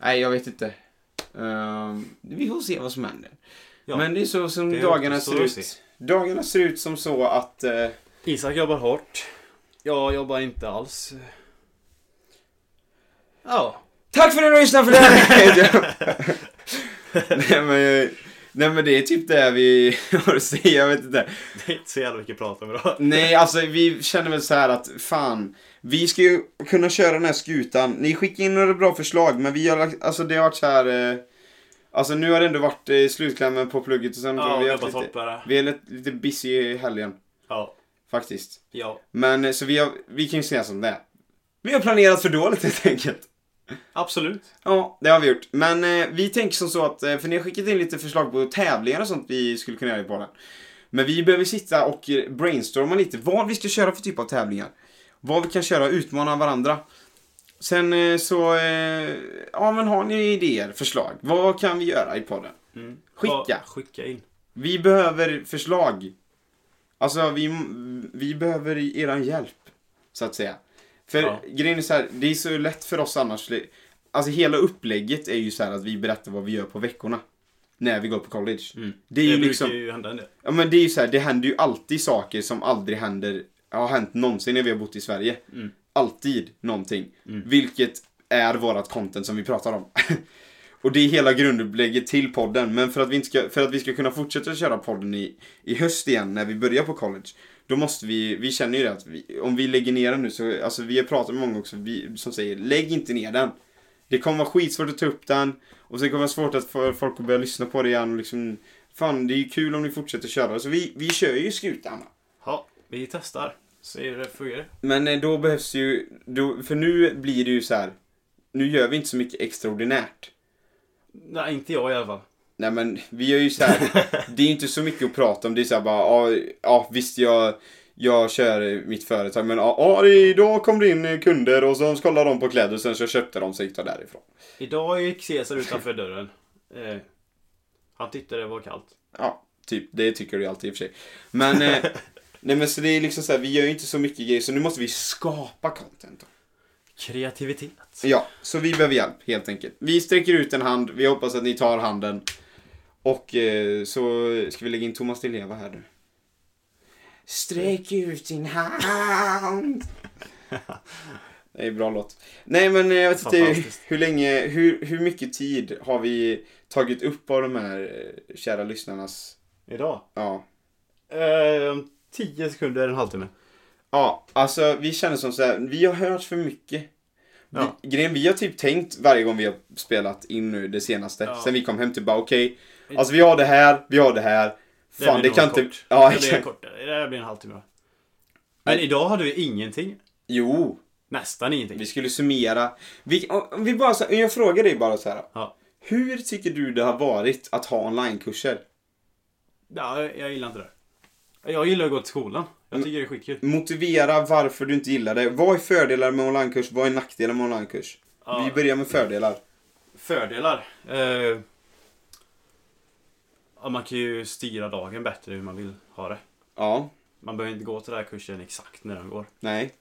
Speaker 2: Nej, jag vet inte. Ehm, vi får se vad som händer.
Speaker 1: Ja.
Speaker 2: Men det är så som
Speaker 1: Det
Speaker 2: dagarna
Speaker 1: återstår
Speaker 2: ser
Speaker 1: att
Speaker 2: ut. Dagarna ser ut som så att... eh,
Speaker 1: Isak jobbar hårt. Jag jobbar inte alls. Ja.
Speaker 2: Tack för att ni lyssnade för det här! nej, men, eh, nej men det är typ det vi har att säga, jag vet inte.
Speaker 1: Det är inte så jävla mycket att prata om idag.
Speaker 2: Nej, alltså vi känner väl så här att fan, vi ska ju kunna köra den här skutan. Ni skickar in några bra förslag, men vi har lagt, alltså det har varit så här. Eh, alltså nu har det ändå varit eh, slutklämmen på plugget och sen
Speaker 1: Ja,
Speaker 2: vi
Speaker 1: vi
Speaker 2: har
Speaker 1: jobbar
Speaker 2: haft
Speaker 1: hårt
Speaker 2: lite,
Speaker 1: bara.
Speaker 2: vi är lite, lite busy i helgen
Speaker 1: Ja.
Speaker 2: faktiskt.
Speaker 1: Ja.
Speaker 2: Men eh, så vi, har, vi kan ju säga som det är. Vi har planerat för dåligt helt enkelt.
Speaker 1: Absolut.
Speaker 2: Ja, det har vi gjort. Men eh, vi tänker som så att, eh, för ni har skickat in lite förslag på tävlingar och sånt vi skulle kunna göra i podden. Men vi behöver sitta och eh, brainstorma lite vad vi ska köra för typ av tävlingar. Vad vi kan köra, utmana varandra. Sen eh, så, eh, ja men har ni idéer, förslag? Vad kan vi göra i podden?
Speaker 1: Mm.
Speaker 2: Skicka.
Speaker 1: Ja, skicka in.
Speaker 2: Vi behöver förslag. Alltså vi, vi behöver eran hjälp. Så att säga. För
Speaker 1: Ja.
Speaker 2: grejen är så här, det är så lätt för oss annars. Alltså hela upplägget är ju så här att vi berättar vad vi gör på veckorna. När vi går på college. Det är ju
Speaker 1: Mm. brukar
Speaker 2: liksom,
Speaker 1: ju hända en del.
Speaker 2: ja men det är ju så här, det händer ju alltid saker som aldrig händer, har hänt någonsin när vi har bott i Sverige.
Speaker 1: Mm.
Speaker 2: Alltid någonting.
Speaker 1: Mm.
Speaker 2: Vilket är vårat content som vi pratar om. Och det är hela grundupplägget till podden. Men för att vi, inte ska, för att vi ska kunna fortsätta köra podden i, i höst igen när vi börjar på college. Då måste vi, vi känner ju det att vi, om vi lägger ner den nu så, alltså vi har pratat med många också vi, som säger lägg inte ner den. Det kommer vara skitsvårt att ta upp den och sen kommer det vara svårt att få folk att börja lyssna på det igen och liksom Fan det är ju kul om ni fortsätter köra så vi, vi kör ju skutan va.
Speaker 1: Ja, vi testar. Se hur det fungerar.
Speaker 2: Men eh, då behövs ju, då, för nu blir det ju så här. nu gör vi inte så mycket extraordinärt.
Speaker 1: Nej, inte jag i alla fall.
Speaker 2: Nej men vi är ju så här. det är ju inte så mycket att prata om. Det är så här bara, ja, ja visst jag, jag kör mitt företag men ja, ja, det- idag kom det in eh, kunder och så kollade de på kläder och sen så köpte de sig och därifrån.
Speaker 1: Idag gick Cesar utanför dörren. Eh, han tyckte det var kallt.
Speaker 2: Ja, typ det tycker du ju alltid i och för sig. Men, eh, nej men så det är liksom så här, vi gör ju inte så mycket grejer så nu måste vi skapa content. då.
Speaker 1: Kreativitet.
Speaker 2: Ja, så vi behöver hjälp helt enkelt. Vi sträcker ut en hand, vi hoppas att ni tar handen. Och eh, så ska vi lägga in Thomas Di Leva här nu. Sträck ut din hand. Det är en bra låt. Nej men eh, jag vet inte
Speaker 1: Fantastiskt.
Speaker 2: hur länge, hur, hur mycket tid har vi tagit upp av de här eh, kära lyssnarnas,
Speaker 1: Idag?
Speaker 2: ja,
Speaker 1: Eh, om 10 sekunder, en halvtimme.
Speaker 2: Ja, alltså vi känner som så här, vi har hört för mycket. Vi,
Speaker 1: Ja.
Speaker 2: Grejen, vi har typ tänkt varje gång vi har spelat in nu det senaste,
Speaker 1: Ja.
Speaker 2: sen vi kom hem typ bara okej, alltså vi har det här, vi har det här. Fan det,
Speaker 1: blir nog
Speaker 2: kan inte...
Speaker 1: kort.
Speaker 2: Ja,
Speaker 1: det blir
Speaker 2: exakt.
Speaker 1: kort. Det där blir en halvtimme då. Men idag hade vi ingenting.
Speaker 2: Jo,
Speaker 1: Nästan ingenting.
Speaker 2: vi skulle summera. Vi, om vi bara, så- jag frågar dig bara så här.
Speaker 1: Ja.
Speaker 2: Hur tycker du det har varit att ha onlinekurser?
Speaker 1: Ja, jag, jag gillar inte det. Jag gillar att gå till skolan. Jag
Speaker 2: Mm.
Speaker 1: tycker det är skitkul.
Speaker 2: Motivera varför du inte gillar det. Vad är fördelar med onlinekurs? Vad är nackdelar med onlinekurs?
Speaker 1: Ja.
Speaker 2: Vi börjar med fördelar.
Speaker 1: Fördelar? Eh, ja, man kan ju styra dagen bättre hur man vill ha det.
Speaker 2: Ja,
Speaker 1: Man behöver inte gå till den här kursen exakt när den går.
Speaker 2: nej.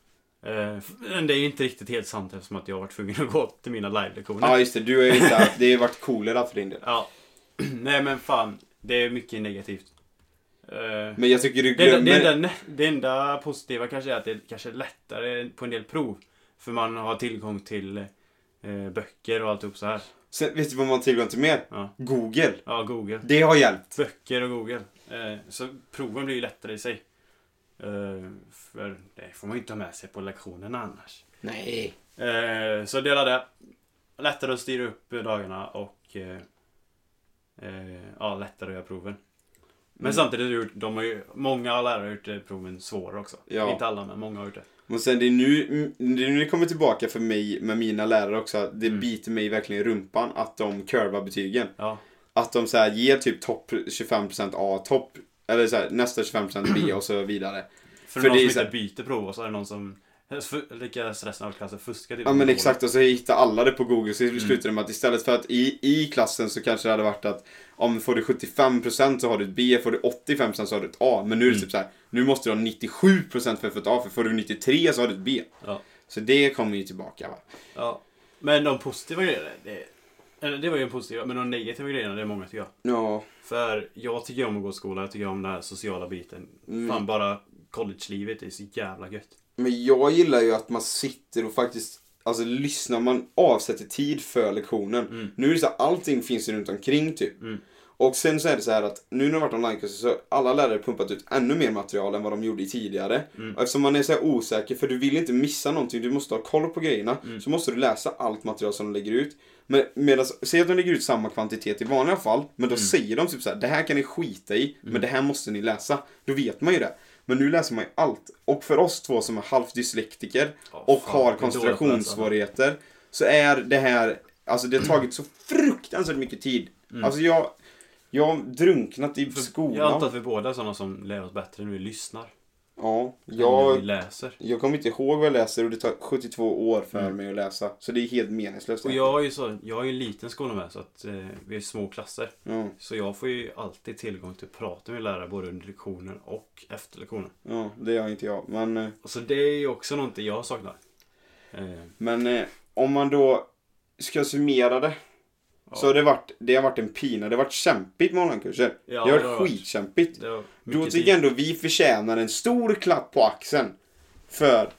Speaker 1: Eh, f- men det är ju inte riktigt helt sant eftersom att jag har varit tvungen att gå till mina live-lektioner.
Speaker 2: Ja, just det. Du har ju inte haft, det har ju varit coolare för din del.
Speaker 1: Ja. Nej men fan, det är mycket negativt. Eh,
Speaker 2: Men jag tycker du
Speaker 1: det, enda,
Speaker 2: glömmer...
Speaker 1: det, enda, det enda positiva kanske är att det kanske är lättare på en del prov. För man har tillgång till eh, böcker och alltihop så här.
Speaker 2: Sen, vet du vad man har tillgång till mer?
Speaker 1: Ja.
Speaker 2: Google.
Speaker 1: Ja, Google.
Speaker 2: Det har hjälpt.
Speaker 1: Böcker och Google. Eh, så proven blir ju lättare i sig. Eh, för det får man ju inte ha med sig på lektionerna annars.
Speaker 2: Nej.
Speaker 1: Eh, så dela det. Lättare att styra upp dagarna och eh, eh, ja, lättare att göra proven. Men
Speaker 2: Mm.
Speaker 1: samtidigt har gjort, de har ju, många lärare har gjort eh, proven svårare också.
Speaker 2: Ja.
Speaker 1: Inte alla men många har gjort det.
Speaker 2: Och sen det är nu, mm, det är nu det kommer tillbaka för mig med mina lärare också. att Det
Speaker 1: Mm.
Speaker 2: biter mig verkligen i rumpan att de curvar betygen.
Speaker 1: Ja,
Speaker 2: Att de så här ger typ topp 25% A, topp, eller så här, nästa 25% B och så vidare.
Speaker 1: för,
Speaker 2: För
Speaker 1: någon
Speaker 2: det är
Speaker 1: som
Speaker 2: så-
Speaker 1: inte byter prov och så är det någon som f- lyckas resten av klassen fuska. till
Speaker 2: Ja
Speaker 1: de
Speaker 2: men
Speaker 1: proven.
Speaker 2: exakt och så hittar alla det på google så slutar det med att istället för att i, i klassen så kanske det hade varit att om får du 75% så har du ett B, får du 85% så har du ett A. Men nu är det typ så här, nu måste du ha 97% för att få ett A för får du 93 så har du ett B.
Speaker 1: Ja.
Speaker 2: Så det kommer ju tillbaka va.
Speaker 1: Ja. Men de positiva grejerna, det, eller det var ju en positiv, men de negativa grejerna det är många tycker jag.
Speaker 2: Ja.
Speaker 1: För jag tycker om att gå i skola, jag tycker om den här sociala biten. Fan bara college-livet är så jävla gött.
Speaker 2: Men jag gillar ju att man sitter och faktiskt Alltså lyssnar, man avsätter tid för lektionen. Nu är det så här, allting finns ju runt omkring typ. Och sen så är det så här att nu när det har varit onlinekurser så har alla lärare pumpat ut ännu mer material än vad de gjorde i tidigare. Och eftersom man är så här osäker, för du vill inte missa någonting, du måste ha koll på grejerna. Så måste du läsa allt material som de lägger ut. Men medan, säg att de lägger ut samma kvantitet i vanliga fall, men då säger de typ så här, det här kan ni skita i, men det här måste ni läsa. Då vet man ju det. Men nu läser man ju allt. Och för oss två som är halvt dyslektiker
Speaker 1: Ja, fan,
Speaker 2: och
Speaker 1: det är
Speaker 2: har
Speaker 1: dåligt att läsa.
Speaker 2: koncentrationssvårigheter så är det här, alltså det har tagit så fruktansvärt mycket tid. Alltså jag, jag har drunknat i
Speaker 1: Mm. Jag antar
Speaker 2: skolan.
Speaker 1: att vi båda är sådana som lär oss bättre när vi lyssnar.
Speaker 2: Ja,
Speaker 1: Ja. När vi
Speaker 2: jag,
Speaker 1: läser.
Speaker 2: jag kommer inte ihåg vad jag läser och det tar 72 år för mig att läsa. Så det är helt meningslöst.
Speaker 1: Mm. Och jag är ju så, jag är ju en liten skola med så att eh, vi är små klasser.
Speaker 2: Ja,
Speaker 1: Så jag får ju alltid tillgång till att prata med lärare både under lektionen och efter lektionen.
Speaker 2: ja, det har inte jag. Men, eh,
Speaker 1: Och Så det är ju också någonting jag saknar. Eh,
Speaker 2: men eh, om man då ska summera det. Så har det, varit, det har varit en pina. Det har varit kämpigt med onlinekurser.
Speaker 1: Ja,
Speaker 2: det har
Speaker 1: det
Speaker 2: varit
Speaker 1: har det varit.
Speaker 2: skitkämpigt.
Speaker 1: det var
Speaker 2: Då
Speaker 1: mycket
Speaker 2: tycker jag
Speaker 1: tid.
Speaker 2: ändå vi förtjänar en stor klapp på axeln. För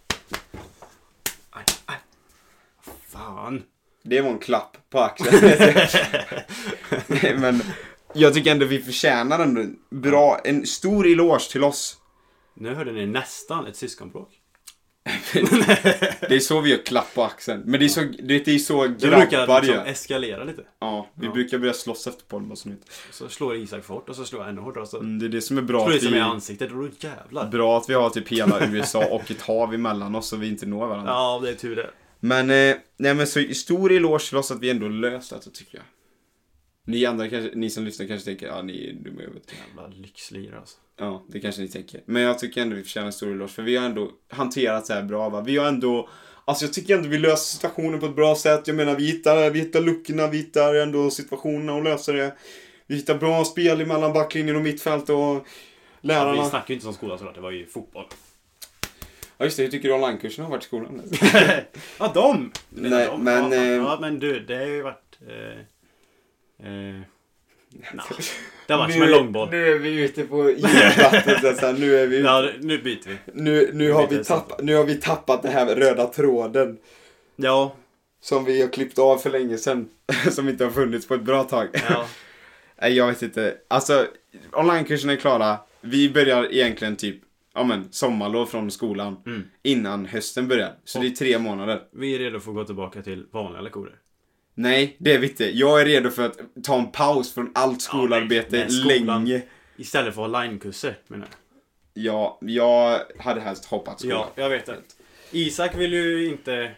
Speaker 1: Aj, aj. Fan.
Speaker 2: det var en klapp på axeln. Nej, men jag tycker ändå vi förtjänar ändå en bra, en stor eloge till oss.
Speaker 1: Nu hörde ni nästan ett syskonbråk.
Speaker 2: Det är så vi gör klapp på axeln. Men det är så, det är så
Speaker 1: Det brukar
Speaker 2: grabbar
Speaker 1: liksom
Speaker 2: gör.
Speaker 1: eskalera lite.
Speaker 2: Ja, vi brukar börja slåss efter bollmålsnytt.
Speaker 1: Så slår Isak fort och så slår jag ännu hårdare. och Så
Speaker 2: Mm, Det är det som är bra.
Speaker 1: slår
Speaker 2: Att
Speaker 1: Isak mig i
Speaker 2: vi,
Speaker 1: ansiktet och då jävlar.
Speaker 2: bra att vi har typ hela USA och ett hav emellan oss så vi inte når varandra.
Speaker 1: Ja, det är tur det.
Speaker 2: Men, eh, nej men så stor eloge till oss att vi ändå löst detta tycker jag. Ni andra kanske, ni som lyssnar kanske tänker, ja ni är dumma i huvudet.
Speaker 1: Jävla lyxlirare alltså.
Speaker 2: Ja, det kanske ni tänker. Men jag tycker ändå vi förtjänar en stor eloge för vi har ändå hanterat det här bra va. Vi har ändå, alltså jag tycker ändå vi löser situationen på ett bra sätt. Jag menar vi hittar, vi hittar luckorna, vi hittar ändå situationerna och löser det. Vi hittar bra spel mellan backlinjen och mittfält och lärarna.
Speaker 1: Vi
Speaker 2: Ja,
Speaker 1: snackar ju inte som skola såklart, det var ju fotboll.
Speaker 2: just det, hur tycker du onlinekurserna har varit i skolan?
Speaker 1: Ja, de! Du menar
Speaker 2: Nej,
Speaker 1: de?
Speaker 2: men,
Speaker 1: Ja, fan.
Speaker 2: eh,
Speaker 1: ja, men du, det har ju varit... Eh, eh, nah. Det har varit som
Speaker 2: Nu-
Speaker 1: en långboll.
Speaker 2: Nu är vi ute på djupvatten så att säga. nu är vi ute
Speaker 1: Ja, nu byter vi.
Speaker 2: Nu, nu, har
Speaker 1: blir
Speaker 2: vi
Speaker 1: det sant.
Speaker 2: tappat, nu har vi tappat den här röda tråden
Speaker 1: Ja,
Speaker 2: som vi har klippt av för länge sedan. Som inte har funnits på ett bra tag.
Speaker 1: ja.
Speaker 2: Nej, jag vet inte. Alltså, onlinekurserna är klara. Vi börjar egentligen typ ja, men, sommarlov från skolan
Speaker 1: Mm.
Speaker 2: innan hösten börjar. Så det är tre månader.
Speaker 1: Vi är redo för att gå tillbaka till vanliga lektioner.
Speaker 2: Nej, det är vi inte. Jag är redo för att ta en paus från allt
Speaker 1: Ja, nej,
Speaker 2: skolarbete
Speaker 1: nej, skolan.
Speaker 2: länge.
Speaker 1: Istället för att ha linekurser, menar jag.
Speaker 2: Ja, jag hade helst hoppat skola.
Speaker 1: Ja, jag vet det. Isak vill ju inte...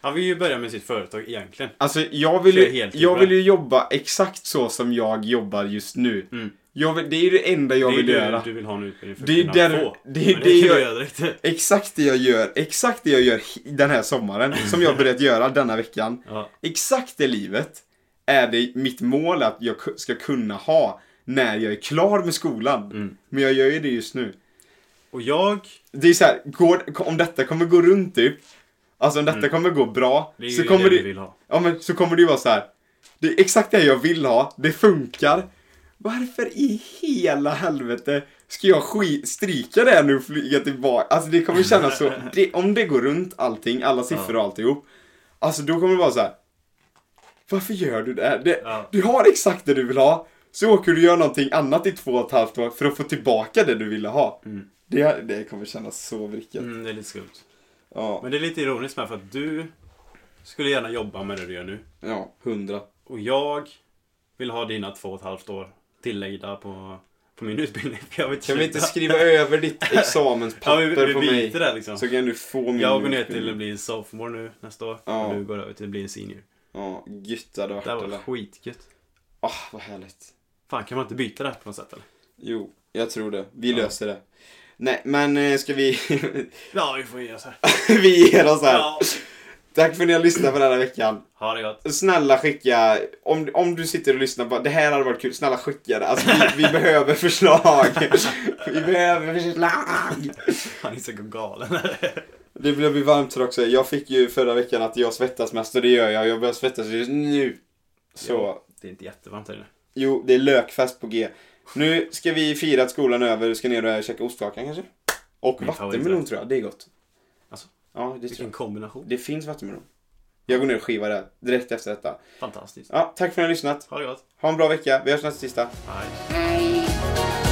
Speaker 1: Han vill ju börja med sitt företag egentligen.
Speaker 2: Alltså jag vill,
Speaker 1: Kör
Speaker 2: ju,
Speaker 1: heltid,
Speaker 2: jag
Speaker 1: va?
Speaker 2: vill ju jobba exakt så som jag jobbar just nu.
Speaker 1: Mm.
Speaker 2: Jag vill, det är ju det enda jag
Speaker 1: det är
Speaker 2: vill
Speaker 1: ju
Speaker 2: göra.
Speaker 1: Du, du vill ha en utbildning för
Speaker 2: Det är
Speaker 1: att kunna
Speaker 2: ju där-
Speaker 1: få.
Speaker 2: det är
Speaker 1: Men
Speaker 2: ju det
Speaker 1: kan
Speaker 2: jag-
Speaker 1: du göra direkt.
Speaker 2: Exakt det jag gör, exakt det jag gör hi- den här
Speaker 1: Mm.
Speaker 2: sommaren, som jag börjat göra denna veckan.
Speaker 1: Ja,
Speaker 2: Exakt det livet är det mitt mål att jag ku- ska kunna ha när jag är klar med skolan.
Speaker 1: Mm.
Speaker 2: Men jag gör ju det just nu.
Speaker 1: och jag...
Speaker 2: Det är så här, går, om detta kommer gå runt typ, alltså om detta kommer gå bra,
Speaker 1: Mm. Det är
Speaker 2: så
Speaker 1: ju
Speaker 2: kommer
Speaker 1: det
Speaker 2: det,
Speaker 1: du vill ha.
Speaker 2: ja men så kommer det ju vara så här. Det är exakt det jag vill ha, det funkar. Varför i hela helvete ska jag skit, strika det här nu och flyga tillbaka? Alltså det kommer kännas så, det, om det går runt allting, alla siffror och alltihop. Alltså då kommer det vara så här. Varför gör du det? här? det
Speaker 1: Ja.
Speaker 2: Du har exakt det du vill ha, så åker du och gör någonting annat i två och ett halvt år för att få tillbaka det du ville ha.
Speaker 1: Mm.
Speaker 2: Det, det kommer kännas så vrickat.
Speaker 1: Mm, det är lite skumt.
Speaker 2: Ja,
Speaker 1: Men det är lite ironiskt med för att du skulle gärna jobba med det du gör nu.
Speaker 2: ja, hundra.
Speaker 1: Och jag vill ha dina två och ett halvt år tillägda på, på min utbildning. För jag vill
Speaker 2: Kan vi inte
Speaker 1: sluta.
Speaker 2: skriva över ditt
Speaker 1: ja,
Speaker 2: examenspapper
Speaker 1: vi, vi
Speaker 2: på mig?
Speaker 1: byter det liksom.
Speaker 2: Så kan du få min
Speaker 1: Jag går ner
Speaker 2: utbildning.
Speaker 1: till att bli en sophomore nu nästa år.
Speaker 2: Ja.
Speaker 1: Och du går över till att bli en senior.
Speaker 2: Ja, gött det hade varit
Speaker 1: Det här var
Speaker 2: eller?
Speaker 1: skitgött.
Speaker 2: Ah, vad härligt.
Speaker 1: Fan, kan man inte byta det här på något sätt eller?
Speaker 2: Jo, jag tror det. Vi
Speaker 1: Ja.
Speaker 2: löser det. Nej, men eh, ska vi...
Speaker 1: Ja, vi får ge oss här.
Speaker 2: vi ger oss här.
Speaker 1: Ja.
Speaker 2: Tack för att ni har lyssnat på den här veckan.
Speaker 1: Ha det gott.
Speaker 2: Snälla skicka, om, om du sitter och lyssnar på det här hade varit kul, snälla skicka det. Alltså vi, vi behöver förslag. vi behöver förslag.
Speaker 1: Han är så galen.
Speaker 2: Det blev ju varmt här också. Jag fick ju förra veckan att jag svettas mest och det gör jag. Jag börjar svettas just nu. Så.
Speaker 1: Jo. Det är inte jättevarmt här inne.
Speaker 2: Jo, det är lökfest på G. Nu ska vi fira att skolan är över. Ska ner och käka ostkakan kanske? Och
Speaker 1: Min
Speaker 2: vattenmelon
Speaker 1: favoriträtt.
Speaker 2: tror jag. Det är gott.
Speaker 1: Alltså?
Speaker 2: Ja, det tror
Speaker 1: Vilken
Speaker 2: jag.
Speaker 1: kombination.
Speaker 2: Det finns vattenmelon. Jag går ner och skivar det direkt efter detta.
Speaker 1: Fantastiskt.
Speaker 2: Ja, tack för att ni har lyssnat.
Speaker 1: Ha det gott.
Speaker 2: Ha en bra vecka. Vi hörs nästa tisdag.
Speaker 1: Hej.
Speaker 3: Hey,